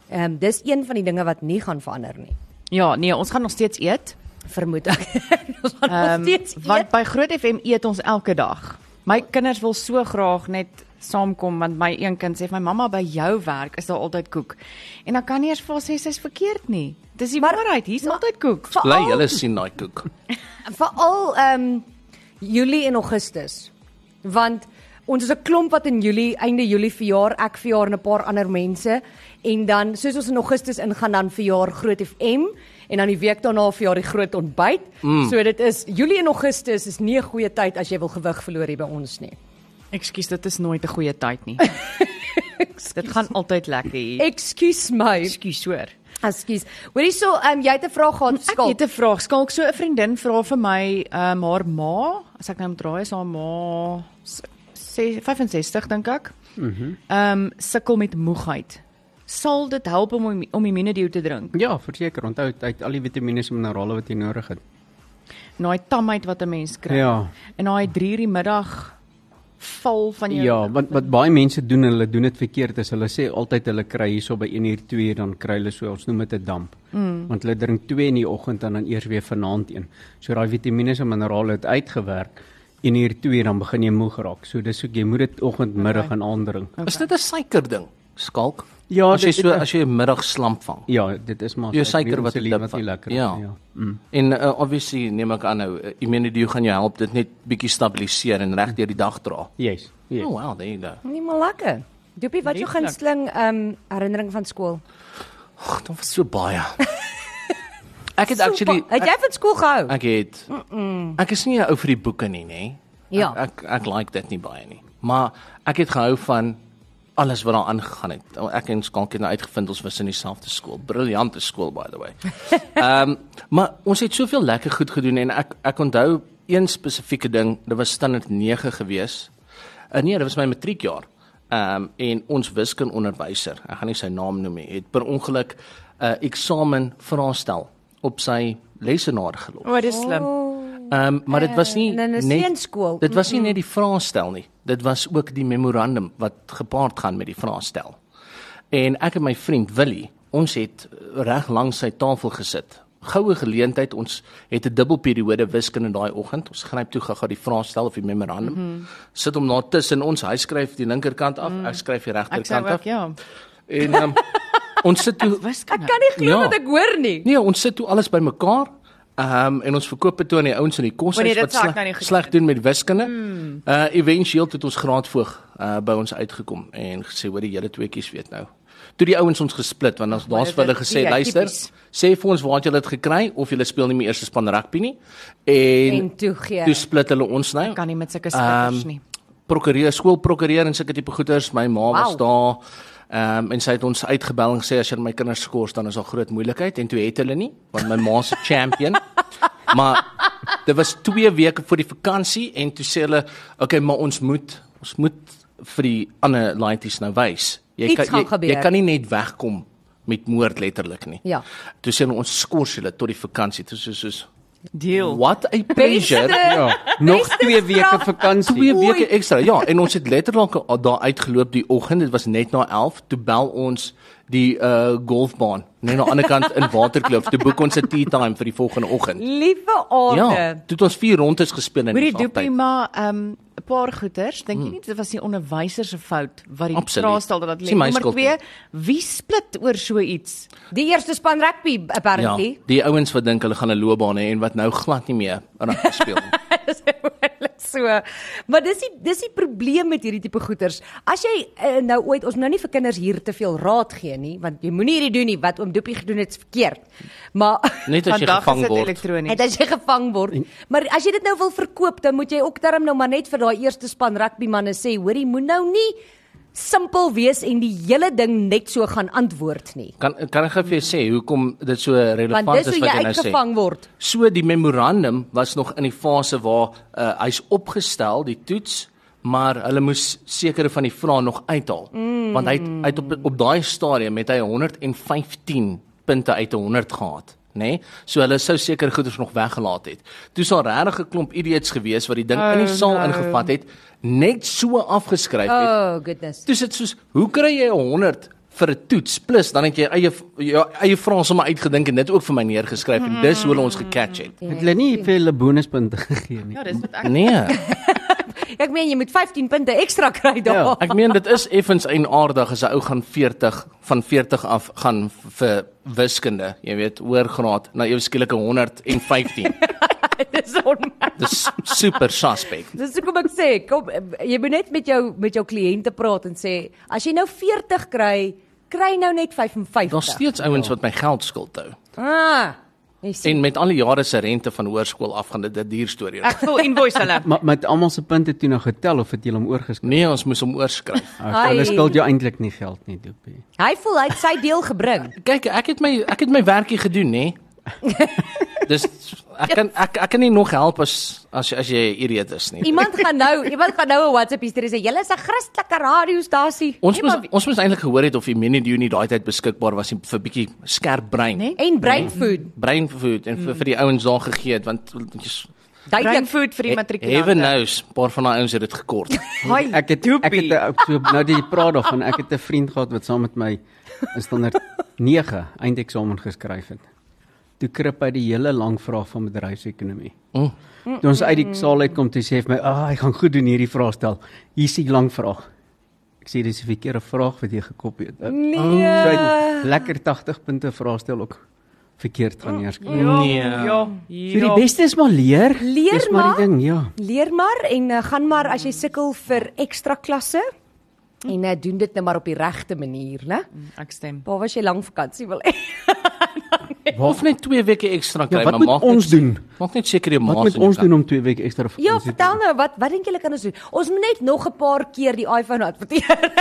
B: Ehm dis een van die dinge wat nie gaan verander nie.
C: Ja, nee, ons gaan nog steeds eet.
B: Vermoed ek. ons gaan
C: Ehm,
B: um, steeds
C: want
B: eet.
C: by Groot FM eet ons elke dag. My kinders wil so graag net saamkom want my een kind sê vir my mamma by jou werk is daar altyd koek. En dan kan nie eers vir haar sê sy's verkeerd nie. Dis die
B: Maar-
C: waarheid, hier's altyd koek.
D: Bly
B: Veral-
D: julle sien daai koek.
B: Veral ehm Julie en Augustus. Want ons is 'n klomp wat in Julie, einde Julie verjaar, ek verjaar en 'n paar ander mense en dan soos ons in Augustus ingaan dan verjaar Groot FM en dan die week daarna verjaar die groot ontbyt. Mm. So dit is Julie en Augustus is nie 'n goeie tyd as jy wil gewig verloor hier by ons nie.
C: Ekskuus, dit is nooit 'n goeie tyd nie. dit gaan altyd lekker hier.
B: Ekskuus my.
C: Ekskuus hoor.
B: Ekskuus. Hoorie so, ehm um, jy het 'n vraag gehad
C: Ek
B: skalk.
C: het 'n vraag. Skalk so 'n vriendin vra vir my, ehm um, haar ma, as ek nou moet draai, is haar ma s- se- 65 dink ek. Mhm. Mm ehm um, sukkel met moegheid. Sal dit help om om- om immunedew te drink?
E: Ja, verseker, onthou hy het al die vitamiene en minerale wat jy nodig het.
C: Na daai tamheid wat 'n mens kry.
E: Ja.
C: En daai 3:00 die middag val van jou.
E: Ja, want wat baie mense doen, hulle doen dit verkeerd. Is hulle sê altyd hulle kry hierso by 1 uur 2 uur dan kry hulle so ons noem dit 'n damp. Mm. Want hulle drink 2 in die oggend en dan eers weer vanaand een. So daai vitamiene en minerale het uitgewerk. 1 uur 2 uur dan begin jy moeg raak. So dis ook jy moet dit oggend, middag en aand drink.
D: Is dit 'n suiker ding? Skalk?
E: Ja,
D: as jy
E: dit-
D: so
E: dit-
D: as jy 'n middag slamp vang.
E: Ja, dit is maar
D: Jou
E: so, ek
D: suiker
E: weet
D: wat
E: ons
D: dit
E: lief wat nie lekker is
D: Ja.
E: nie,
D: ja. Mm. En uh, obviously neem ek aan nou, uh, immunity gaan jou help dit net bietjie stabiliseer en reg deur die dag dra.
E: Yes. Yes.
D: Oh wow, there you go.
B: Nie maar lekker. Doopie, wat jou
C: Lieflik.
B: gunsteling ehm um, herinnering van skool?
D: Ag, dan was so baie. ek het actually
B: Super. Het jy van skool gehou?
D: Ek het Ek is nie 'n ou vir die boeke nie, nê?
B: Ja.
D: Ek ek, ek like dit nie baie nie. Maar ek het gehou van alles wat daar aangegaan het. Ek en Skalk het nou uitgevind ons was in dieselfde skool. Briljante skool by the way. Ehm um, maar ons het soveel lekker goed gedoen en ek ek onthou een spesifieke ding, dit was standaard 9 gewees. Uh, nee, dit was my matriekjaar. Ehm um, en ons wiskundeonderwyser, ek gaan nie sy naam noem nie, het per ongeluk 'n uh, eksamen vraestel op sy lesenaar gelop.
C: O, dis slim.
D: Ehm um, maar dit was nie
B: Eh,
C: nou,
B: en in 'n
D: net-
B: seenskool.
D: Dit was nie net die vraestel nie. Dit was ook die memorandum wat gepaard gaan met die vraestel. En ek en my vriend Willie, ons het reg langs sy tafel gesit. Goue geleentheid, ons het 'n dubbelperiode wiskunde daai oggend. Ons gryp toe gaga die vraestel of die memorandum. Mm
C: Mhm.
D: -hmm. Sit hom daar tussen ons. Hy skryf die linkerkant af, mm. ek skryf die
C: Ek sê
D: regterkant af.
C: ook ja.
D: En um, ons sit toe
C: Wiskunde.
B: Kan nie glo
D: Ja.
B: wat ek hoor nie.
D: Nee, ons sit toe alles bymekaar. Ehm um, en ons verkoop dit toe aan die ouens in die
C: O nee,
D: koshuis
C: dit
D: wat
C: sal ek
D: sleg,
C: nou nie Hmm. goed
D: sleg doen met wiskunde. Mm. Uh éventueel het ons graadvoog uh by ons uitgekom en gesê hoor die hele tweeetjies weet nou. Toe die ouens ons gesplit want ons daar's
C: dit
D: vir hulle
C: is
D: gesê
C: die, ja,
D: luister,
C: typies.
D: sê vir ons waar jy dit gekry of jy speel nie meer eerste span rugby nie. En,
B: En toe gee.
D: toe split hulle ons nou.
C: Kan nie met sulke skikkers nie.
D: Prokureur, skoolprokureur en sulke tipe goeters. My ma was
B: Wow.
D: daar. Ehm um, en sy het ons uitgebel en gesê as jy my kinders skors dan is daar groot moeilikheid en toe het hulle nie want my ma se champion. maar dit was 2 weke voor die vakansie en toe sê hulle okay, maar ons moet ons moet vir die ander laaities nou wys. Jy
B: Iets gaan
D: kan jy, jy
B: gebeur.
D: kan nie net wegkom met moord letterlik nie.
B: Ja.
D: Toe sê hulle ons skors julle tot die vakansie. Toe soos soos
C: Deel.
D: what a pressure.
E: Ja, nog 2 weke
B: straf.
E: vakansie.
D: Twee weke ekstra. Ja, en ons het letterlik al daar uitgeloop die oggend. Dit was net na 11 toe bel ons die uh golfbaan net aan die ander kant in Waterkloof. Toe boek ons 'n tea time vir die volgende oggend.
B: Liewe orde.
D: Ja, toe het ons vier rondes gespeel en
C: Hoorie doopie maar ehm um, 'n paar goeters, dink jy nie dit was die onderwyser se fout wat die
D: Hmm. Absoluut.
C: vraestel dat dit
D: Dis
C: lê.
D: nie my
C: Nommer
D: skuld
C: 2, wie split oor so iets?
B: Die eerste span rugby
D: Ja,
B: apparently.
D: die ouens wat dink hulle gaan 'n loopbaan hê en wat nou glad nie meer rugby speel nie.
B: Dis eintlik so. Maar dis die dis die probleem met hierdie tipe goeters. As jy uh, nou ooit ons nou nie vir kinders hier te veel raad gee nie, want jy moenie hierdie doen nie wat oom Doopie gedoen het is verkeerd. Maar
D: Net as jy
C: Vandag is
D: gevang
C: dit
D: word.
C: elektronies.
B: net as jy gevang word.
D: Nee.
B: Maar as jy dit nou wil verkoop, dan moet jy ook darm nou maar net vir daai eerste span rugby manne sê, hoorie, moet nou nie simpel wees en die hele ding net so gaan antwoord nie.
D: Kan kan ek gou vir jou sê hoekom dit so relevant
B: Want dis
D: is
B: hoe
D: wat
B: jy
D: jy nou sê?
B: uitgevang word.
D: So die memorandum was nog in die fase waar uh, hy's opgestel, die toets, maar hulle moes sekere van die vrae nog uithaal. Mm. Want hy het, hy het op op daai stadium met hy 115 punte uit 'n 100 gehad. Nee, so hulle sou seker goeders nog weggelaat het. Toe sou regtig 'n klomp idiots gewees wat die ding oh, in die saal no. ingevat het, net so afgeskryf het
B: Oh goodness.
D: Dis dit soos hoe kry jy 'n 100 vir 'n toets plus dan het jy eie jou eie vrae sommer uitgedink en dit ook vir my neergeskryf en dis hoe hulle ons gecatch het.
E: Het hulle nie vir hulle bonuspunte gegee nie.
C: Ja, dis wat ek
D: Nee,
B: Ek meen jy moet 15 punte ekstra kry daar.
E: Ja.
D: ek meen dit is effens eienaardig as 'n ou gaan 40 van 40 af gaan vir wiskunde, jy weet, hoër graad na ewe skielike 115.
B: Dis onmoontlik.
D: Dis super suspect.
B: Dis hoekom ek sê, kom jy moet net met jou met jou kliënte praat en sê, as jy nou 40 kry, kry nou net 55.
D: Daar's steeds ouens wat my geld skuld hou.
B: Ah. Jy sien.
D: En met al die jare se rente van hoërskool af gaan dit 'n duur storie.
C: ek voel invoice hulle.
E: Maar met almal se punte toe nou getel of het jy hom oorgeskryf?
D: Nee, ons moes hom oorskryf.
E: Ah,
B: Ai.
E: Hulle skuld jou eintlik nie geld nie, Doopie.
B: Hy voel hy het sy deel gebring.
D: Kyk, ek het my ek het my werkie gedoen, nê. Dis ek kan ek ek kan nie nog help as as as jy idioot is
C: Nee,
D: nie.
B: Iemand gaan nou, iemand gaan nou 'n WhatsApp stuur en sê, "Julle is 'n Christelike radiostasie."
D: Ons
C: nee,
D: moes ons moes eintlik gehoor het of Immunity nie daai tyd beskikbaar was nie vir bietjie skerp brein.
C: Nee? Mm.
B: En brain food.
D: Brein food en vir, vir die ouens daar gegee het want jy's-
C: Bring
B: Duidelik.
C: food vir die
D: Heaven
C: matrikulante. Ja,
D: knows, 'n paar van daai ouens het dit gekort.
C: Hi.
E: Ek het ek het ek, so, nou die praat daarvan, ek het 'n vriend gehad wat saam met my in standaard 9 eindeksamen geskryf het. Toe krip hy die hele lang vraag van bedryfsekonomie.
D: Mm.
E: Toe ons uit die saal uitkom, toe sê hy vir my, "Ag, ek gaan goed doen hierdie vraestel. Hier's die lang vraag." Ek sê dis die verkeerde vraag wat jy gekopie het. Nee. So hy het lekker 80 punte vraestel ook verkeerd gaan neerskryf.
D: Nee.
C: Ja.
E: So die beste is maar leer.
B: Leer
E: dis maar
B: maar.
E: die ding, ja.
B: Leer maar en uh, gaan maar as jy sukkel vir ekstra klasse en uh, doen dit nou maar op die regte manier, né?
C: Ek stem.
B: Waar was jy lank vakansie wil hê?
D: Of net 2 weke ekstra kry,
E: Ja, wat
D: maar maak
E: moet ons
D: net,
E: doen?
D: Maak net seker jy maak.
E: Wat moet ons doen om 2 weke ekstra vakansie
B: Ja,
E: te
B: vertel nou, wat wat dink julle kan ons doen? Ons moet net nog 'n paar keer die iPhone adverteer.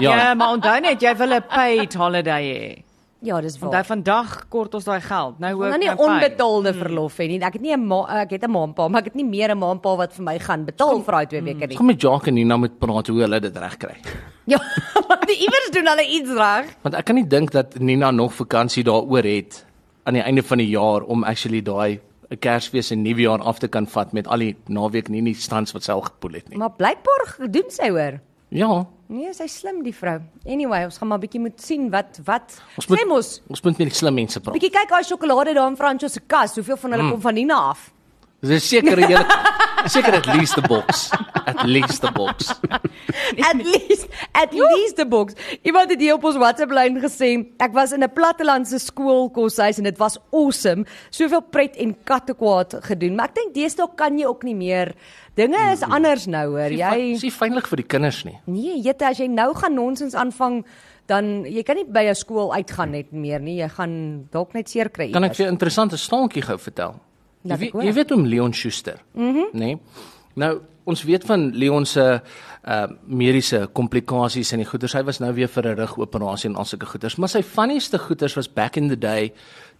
C: Ja,
D: Ja.
C: maar onthou net jy wil 'n paid holiday hê.
B: Ja, dis waar.
C: Onthou vandag kort ons daai geld. Nou
B: Ek
C: ook
B: wil nou nie
C: nou paid.
B: onbetaalde verlof hê nie. Ek het nie 'n ma ek het 'n ma en pa, maar ek het nie meer 'n ma en pa wat vir my gaan betaal vir daai 2 weke nie.
D: Gaan met Jacques en Nina moet praat hoe hulle dit regkry.
B: Ja, want die iewers doen hulle iets reg.
D: Want ek kan nie dink dat Nina nog vakansie daaroor het aan die einde van die jaar om actually daai 'n Kersfees en Nuwejaar af te kan vat met al die naweek nie nie stands wat sy al gepoel het nie.
B: Maar blykbaar doen sy hoor.
D: Ja,
B: Nee, sy's slim die vrou. Anyway, ons gaan maar bietjie moet sien wat wat
D: Ons moet-
B: sê mos.
D: ons moet met die slim mense praat.
B: Bietjie kyk daai sjokolade daar in Franco se kas, hoeveel van hulle mm. kom van Nina af?
D: Dis is seker jy seker at least the box. At least the box.
B: At least at least the box. Iemand het hier op ons WhatsApp lyn gesê, ek was in 'n plattelandse skoolkoshuis en dit was awesome. Soveel pret en kattekwaad gedoen, maar ek dink deesdae kan jy ook nie meer. Dinge is anders nou hoor. Jy
D: Dis nie veilig vir die kinders nie.
B: Nee, jette, as jy nou gaan nonsens aanvang, dan jy kan nie by jou skool uitgaan net meer nie. Jy gaan dalk net seer kry.
D: Kan ek
B: iewers.
D: vir jou 'n interessante staaltjie gou vertel? Jy
B: Laat ek
D: weet,
B: hoor. Mhm.
D: jy weet om Leon Schuster, mm -hmm. nê? Nee? Nou, ons weet van Leon se uh mediese komplikasies en die goeters. Hy was nou weer vir 'n rugoperasie en al sulke goeters, maar sy funnieste goeters was back in the day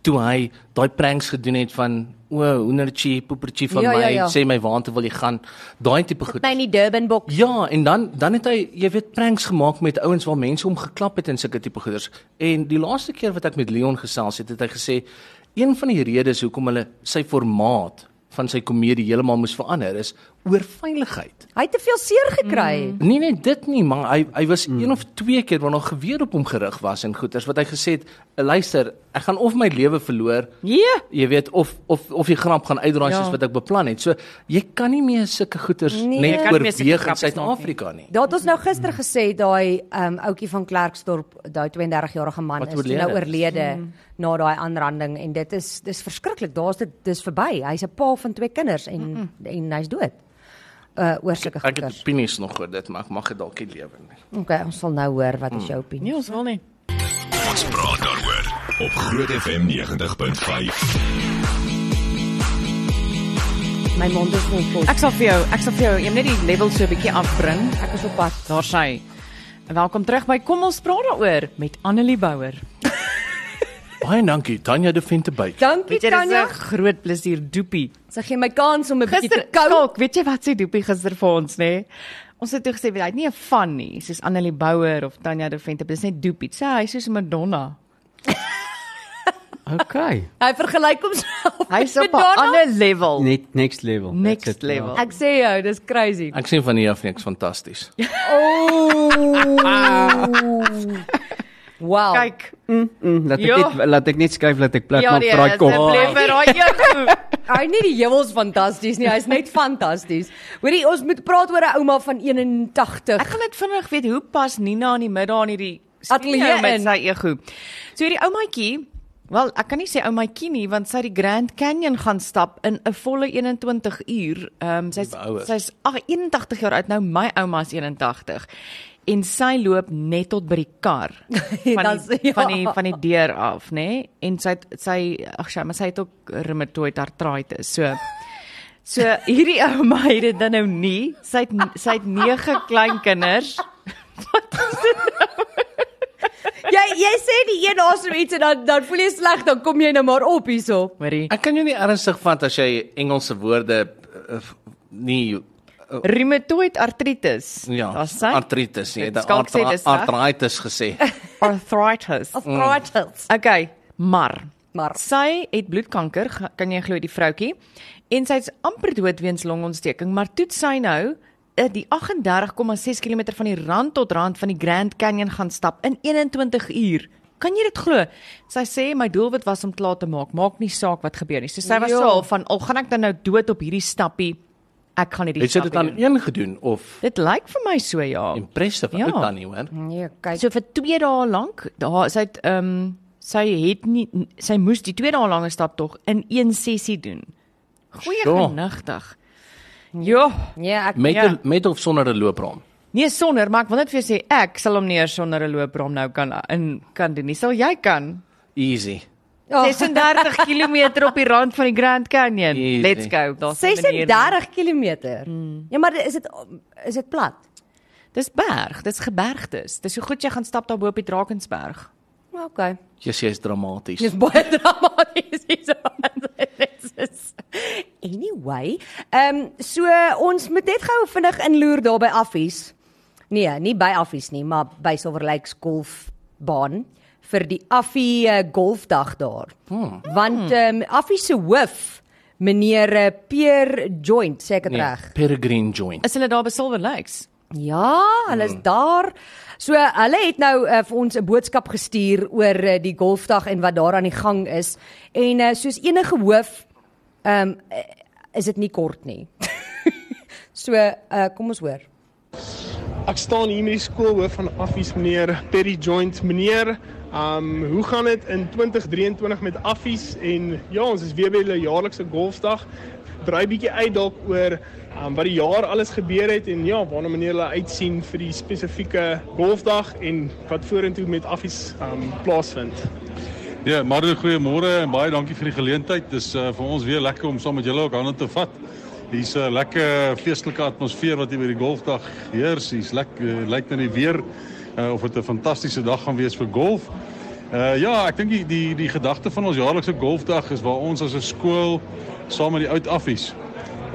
D: toe hy daai pranks gedoen het van o, hoendertjie, poepertjie van
B: Ja,
D: my,
B: ja, ja.
D: sê my waartoe wil jy gaan? Daai tipe goed.
B: my Nee, in die Durban boks.
D: Ja, en dan dan het hy, jy weet, pranks gemaak met ouens waar mense hom geklap het en sulke tipe goeders. En die laaste keer wat ek met Leon gesels het, het hy gesê een van die redes hoekom hulle sy formaat van sy komedie heeltemal moes verander is oor veiligheid.
B: Hy het te veel seer gekry.
D: Nie net dit nie, maar hy hy was mm. een of twee keer waar nog geweer op hom gerig was en goeters wat hy gesê het, luister, ek gaan of my lewe verloor,
C: Ja.
D: jy weet, of of of die grap gaan uitdraai
C: Ja.
D: ja. soos wat ek beplan het. So jy kan nie meer sulke goeters
B: Nee. Jy
D: nee, net
C: kan nie meer sulke
D: oorweeg in
C: grappies maak nie.
D: Suid-Afrika nie.
B: Daar het ons nou gister gesê daai ehm um, ouetjie van Klerksdorp, daai 32-jarige man
D: Wat
B: is toe
D: oorlede
B: nou
D: is.
B: oorlede
C: Hmm.
B: na daai aanranding en dit is dis verskriklik. Daar's dit dis verby. Hy's 'n pa van twee kinders en mm -mm. en hy's dood. Uh oor sulke
D: Ek het
B: goeters.
D: opinies nog oor dit, maar ek mag dit dalk nie lewe nie.
B: Okay, ons sal nou hoor wat is
D: Mm.
B: jou opinie.
C: Nee, ons wil nie.
A: Ons praat daaroor op Groot FM 90.5.
B: My mond is vol vol.
C: Ek sal vir jou, ek sal vir jou, jy moet net die level so 'n bietjie afbring.
B: Ek is op pad.
C: Daar sy. Welkom terug by Kom ons praat daaroor met Annelie Bouwer.
D: Baie dankie Tanya de Vinterbyk.
B: Dankie
C: Weet jy dis
B: Tanya.
C: 'n groot plesier doepie.
B: Sy gee my kans om 'n bietjie te
C: Gister
B: kou.
C: kalk, weet jy wat sê doepie gister vir ons nê? Ons het toe gesê hy het nie 'n van nie, soos Annelie Bouwer of Tanya de Venter, dis net doepie. Sê hy is soos Madonna.
E: Okay.
B: Hy vergelyk homself.
C: Hy's
B: met
C: op 'n
B: Madonna.
C: ander level. Nee.
E: Net next level.
C: Next
E: That's it. ja.
C: level.
B: Ek sê jou, dis crazy.
D: Ek sien van hier af niks fantasties.
B: Wow.
C: Ah. Kyk,
E: Mm, laat ek
C: Ja.
E: net laat ek net skuif dat ek plat
C: ja,
E: maak
C: nee,
E: vir daai
C: asseblief
E: kop. Ah.
C: vir daai jou.
B: Hy nie die hemels fantasties nie, hy's net fantasties. Hoorie, ons moet praat oor 'n ouma van 81.
C: Ek gaan net vinnig weet hoe pas Nina in die middag in hierdie
B: Ateljee
C: studio met
B: in.
C: sy ego. So hierdie oumaatjie, wel, ek kan nie sê oumaatjie nie want sy het die Grand Canyon gaan stap in 'n volle 21 uur. Ehm um, sy's
D: Wou.
C: sy's ag, 81 jaar oud nou, my ouma is 81 en sy loop net tot by die kar van
B: Dan
C: die,
B: sê- ja.
C: van die van die deur af, nê? Nee? En sy het- sy ag, sy maar sy het ook reumatoid artritis. So So hierdie ouma het dit dan nou nie. Sy het sy het 9 kleinkinders.
B: Jy jy sê die een asem iets en dan dan voel jy sleg, dan kom jy nou maar op hierso.
C: Hoorie.
D: Ek kan jou nie ernstig vat as jy Engelse woorde eh, eh, nie
C: Rheumatoid artritis.
D: ja,
C: Daar's sy.
D: artritis nie,
C: Dit
D: dit
C: skalk sê dis reg.
D: artritis gesê.
C: arthritis.
B: Of gratis.
C: Okay, maar
B: Maar
C: sy het bloedkanker, ge- kan jy glo die vroutjie, en sy's amper dood weens longontsteking, maar toe sy nou eh, die 38,6 km van die rand tot rand van die Grand Canyon gaan stap in 21 uur. Kan jy dit glo? Sy sê my doelwit was om klaar te maak, maak nie saak wat gebeur nie. So sy was
B: Ja.
C: so al van al gaan ek dan nou dood op hierdie stappie. Ek gaan hierdie
D: Het jy dit
C: stappie.
D: aan
C: Doen.
D: een gedoen of
C: Dit lyk vir my so ja.
D: impressive
C: Ja.
D: ja. ou tannie hoor?
B: nee, kyk.
C: So vir 2 dae lank, daar sy het ehm sy het nie sy moes die 2 dae lange stap tog in een sessie doen. Goeie
D: Sjoe.
C: genigtig. Ja,
B: Nee, ek
D: Met
C: Ja.
D: ja. met of sonder 'n loopraam.
C: nee sonder, maar ek wil net vir jou sê ek sal hom neer sonder 'n loopbrom nou kan in kan doen. Nie sal jy kan.
D: Easy.
B: Ja,
C: 36 km op die rand van die Grand Canyon.
D: Easy.
C: Let's go. Daar's 'n manier.
B: 36 km. Ja, maar is dit is dit plat?
C: Dis berg, dis gebergtes. Dis hoe goed jy gaan stap daar bo op die Drakensberg.
B: Okay.
D: Jy sê is dramaties.
B: Dis baie dramaties hierso. Dit is- Anyway, ehm um, so ons moet net gou vinnig inloer daar by Affies. Nee, nie by Affies nie, maar by Silverlake golfbaan vir die Affie eh, golfdag daar. Hmm. Want ehm um, Affie se hoof, meneer eh, Pierre Joint, sê ek
D: Nee,
B: dit reg?
D: Peregrine joint.
C: Is hulle daar by Silver Lakes?
B: Ja, hulle is daar. So hulle het nou uh, vir ons 'n boodskap gestuur oor uh, die golfdag en wat daar aan die gang is. En uh, soos enige hoof ehm um, uh, is dit nie kort nie. so uh, kom ons hoor.
F: Ek staan hier met die skoolhoof van Affies meneer Perry Joint meneer. Um hoe gaan dit in 2023 met Affies en ja, ons is weer by hulle jaarlikse golfdag. Brei bietjie uit dalk oor um wat die jaar alles gebeur het en ja, waarna meneer hulle uitsien vir die spesifieke golfdag en wat vorentoe met Affies um plaasvind.
G: Ja, Mario, goeiemôre en baie dankie vir die geleentheid. Dis uh, vir ons weer lekker om saam met julle ook hande te vat. Hier's 'n lekker feestelike atmosfeer wat hier by die golfdag heers. Hier's lekker uh, lyk na die weer uh, of dit 'n fantastiese dag gaan wees vir golf. Uh, ja, ek dink die die, die gedagte van ons jaarlikse golfdag is waar ons as 'n skool saam met die oud affies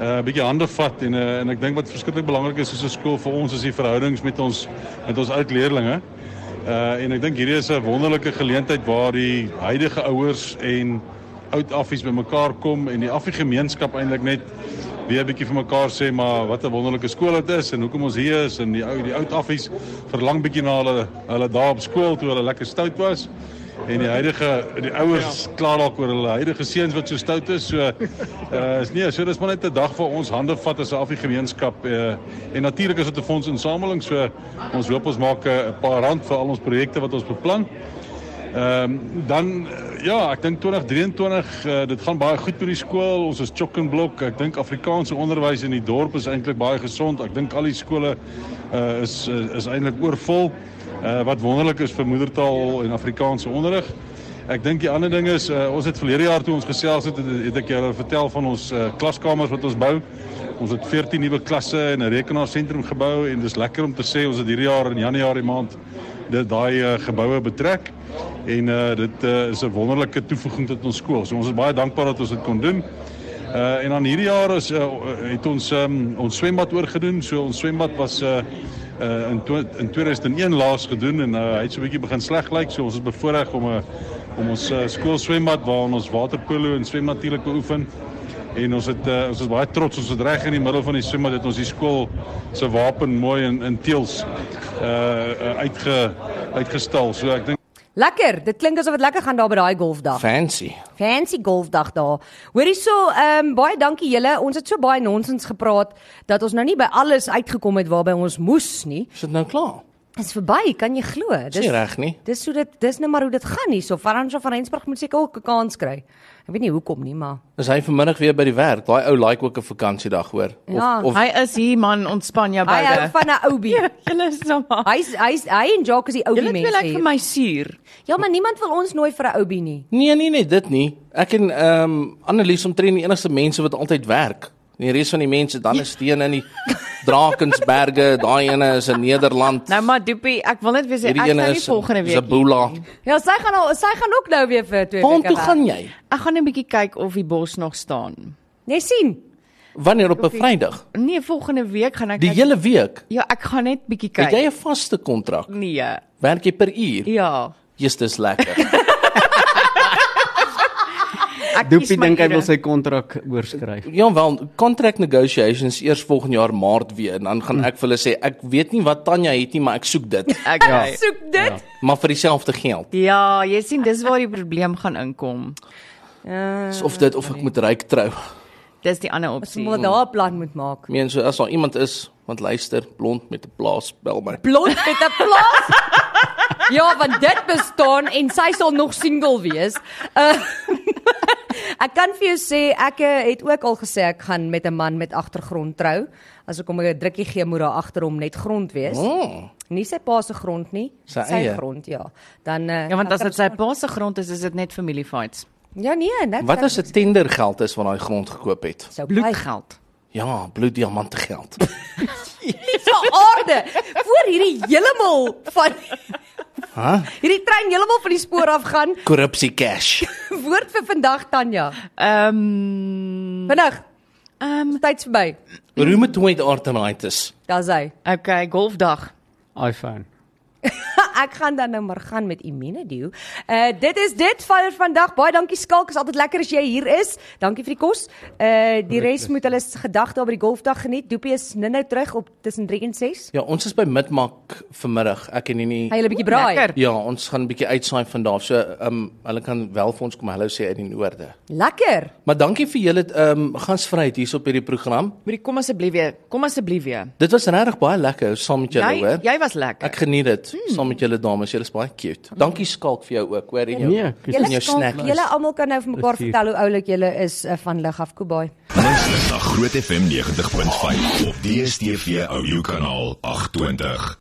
G: 'n uh, bietjie hande vat en uh, en ek dink wat verskriklik belangrik is soos 'n skool vir ons is die verhoudings met ons met ons oud leerdlinge. Uh en ek dink hierdie is 'n wonderlike geleentheid waar die huidige ouers en oud affies bymekaar kom en die affie gemeenskap eintlik net weer 'n bietjie vir mekaar sê maar wat 'n wonderlike skool dit is en hoekom ons hier is en die ou die oud affies verlang bietjie na hulle hulle daar op skool toe hulle lekker stout was. En die huidige die ouers kla dalk oor hulle huidige seuns wat so stout is. So uh is nee, so dis maar net 'n dag vir ons hande vat as 'n afgemeenskap uh en natuurlik is dit 'n fondsinsameling. So ons hoop ons maak 'n uh, paar rand vir al ons projekte wat ons beplan. Ehm dan eh, ja, ek dink 2023 uh, dit gaan baie goed met die skool. Ons is chock and block. Ek dink Afrikaanse onderwys in die dorp is eintlik baie gesond. Ek dink al die skole uh, is is, is eintlik oorvol. Uh, wat wonderlik is vir moedertaal en Afrikaanse onderrig. Ek dink die ander ding is uh, ons het verlede jaar toe ons gesels het, het, het ek julle vertel van ons uh, klaskamers wat ons bou. Ons het 14 nuwe klasse en 'n rekenaarsentrum gebou en dis lekker om te sê ons het hierdie jaar in Januarie maand dit daai uh, geboue betrek en uh, dit uh, is 'n wonderlike toevoeging tot ons skool. So ons is baie dankbaar dat ons dit kon doen. Uh, en dan hierdie jaar is uh, het ons um, ons swembad oorgedoen. So ons swembad was uh, uh, in twe- in 2001 laas gedoen en uh, hy het so 'n bietjie begin sleg lyk. So ons is bevoorreg om 'n om ons uh, skoolswembad waarin ons waterpolo en swem natuurlik beoefen. En ons het uh, ons is baie trots ons het reg in die middel van die swembad het ons die skool se wapen mooi in in teels uh uitge uitgestal. So ek dink
B: Lekker, dit klink asof dit lekker gaan daar by daai golfdag.
D: Fancy.
B: Fancy golfdag daar. Hoor hierso, ehm um, baie dankie julle. Ons het so baie nonsens gepraat dat ons nou nie by alles uitgekom het waarby ons moes nie.
D: Is dit nou klaar?
B: Dis verby, kan jy glo?
D: Dis nie reg nie.
B: Dis hoe dit dis nou maar hoe dit gaan hierso. Fernando van Rensburg moet seker ook 'n kans kry. Ek weet nie hoekom nie, maar
D: Is hy vanmiddag weer by die werk? Daai ou like ook 'n vakansiedag hoor. Of
B: Ja,
D: of
C: Hy is hier man, ontspan jou
B: hy hou
C: beide.
B: van 'n oubie.
C: Julle is nou maar.
B: Hy's hy's hy en Jacques is die
C: Julle
B: oubie
C: twee
B: mense.
C: lyk
B: hier.
C: vir my suur.
B: Ja, maar niemand wil ons nooi vir 'n oubie nie.
D: Nee, nee, nee, dit nie. Ek en ehm um, Annelies omtrent die enigste mense wat altyd werk. En die res van die mense dan is steen in die Drakensberge, daai ene is in Nederland.
C: Nou maar Doopie, ek wil net weer sê ek gaan nie volgende week nie.
D: Zabula.
B: Ja, sy gaan al sy gaan ook nou weer vir twee
D: Waar
B: weke.
D: toe
B: weg.
D: gaan jy?
C: Ek gaan 'n bietjie kyk of die bos nog staan.
B: Jy sien.
D: Wanneer op 'n Vrydag?
C: Nee, volgende week gaan ek
D: Die
C: kyk-
D: hele week.
C: Ja, ek gaan net bietjie kyk.
D: Het jy 'n vaste kontrak?
C: Nee.
D: Werk jy per uur?
C: Ja.
D: Jesus, dis lekker.
C: Ek
E: Doopie dink hy wil
C: sê
E: sy kontrak oorskryf.
D: Ja wel, contract negotiations eers volgende jaar Maart weer en dan
C: Hm.
D: gaan ek vir hulle sê ek weet nie wat Tanya het nie, maar ek soek dit,
C: ek ja.
B: Soek dit.
D: maar vir dieselfde geld.
C: ja, jy sien dis waar die probleem gaan inkom.
B: Ja. Uh,
D: Of dit of ek moet ryk trou.
C: Dis die ander
B: ons
C: opsie.
B: moet daar 'n plan moet maak.
D: Ek meen so as daar iemand is want luister blond met 'n plaas bel my.
B: Blond met 'n plaas. ja, want dit bestaan en sy sal nog single wees. Uh, ek kan vir jou sê ek eh, het ook al gesê ek gaan met 'n man met agtergrond trou. As ek hom 'n drukkie gee moet daar agter hom net grond wees.
D: Oh,
B: Nie sy pa se grond nie,
D: Sy
B: sy,
D: eie.
B: grond, ja. Dan uh,
C: Ja, want as dit sy pa se grond is, is dit net familiefights.
B: Ja nee, net
D: wat as 'n tendergeld is wat daai grond gekoop het?
B: sou bly.
C: Bloedgeld.
D: Ja, bloeddiamante geld.
B: So se aarde voor hierdie heeltemal van
D: Hæ?
B: hierdie trein heeltemal van die spoor af gaan.
D: Korrupsie cash.
B: Woord vir vandag Tanya.
C: Ehm
B: Vinnig,
C: ehm
B: tyd's verby.
D: Rheumatoid arthritis.
B: Daar's hy.
C: okay, golfdag.
E: iPhone.
B: Ek gaan dan nou maar gaan met Immunedio. Uh dit is dit vir vandag. Baie dankie Skalk, is altyd lekker as jy hier is. Dankie vir die kos. Uh die res moet hulle se gedagte oor die golfdag geniet. Doopie is nou-nou terug op tussen 3 en 6.
D: Ja, ons is by Midmark vanmiddag. Ek en Nini.
B: Hy hulle 'n bietjie braai.
C: lekker.
D: Ja, ons gaan 'n bietjie uitsaai vandag. So, ehm um, hulle kan wel vir ons kom hallo sê uit die noorde.
B: Lekker.
D: Maar dankie vir julle ehm um, gasvryheid hier op hierdie program.
C: Moenie kom asseblief weer. Kom asseblief weer.
D: Dit was regtig baie lekker saam met julle,
C: Jy
D: hoor.
C: jy was lekker.
D: Ek geniet dit mm. saam met julle dames. Julle is baie cute. Dankie Skalk vir jou ook, hoor. en jou-
E: Nee, ek-
D: in
B: Julle
D: jou
B: skalk,
D: snacklys.
B: julle almal kan nou vir mekaar
E: Plesier.
B: vertel hoe oulik julle is uh, van lig af Kobai.
A: Luister na Groot FM 90.5 op DStv audio kanaal 820.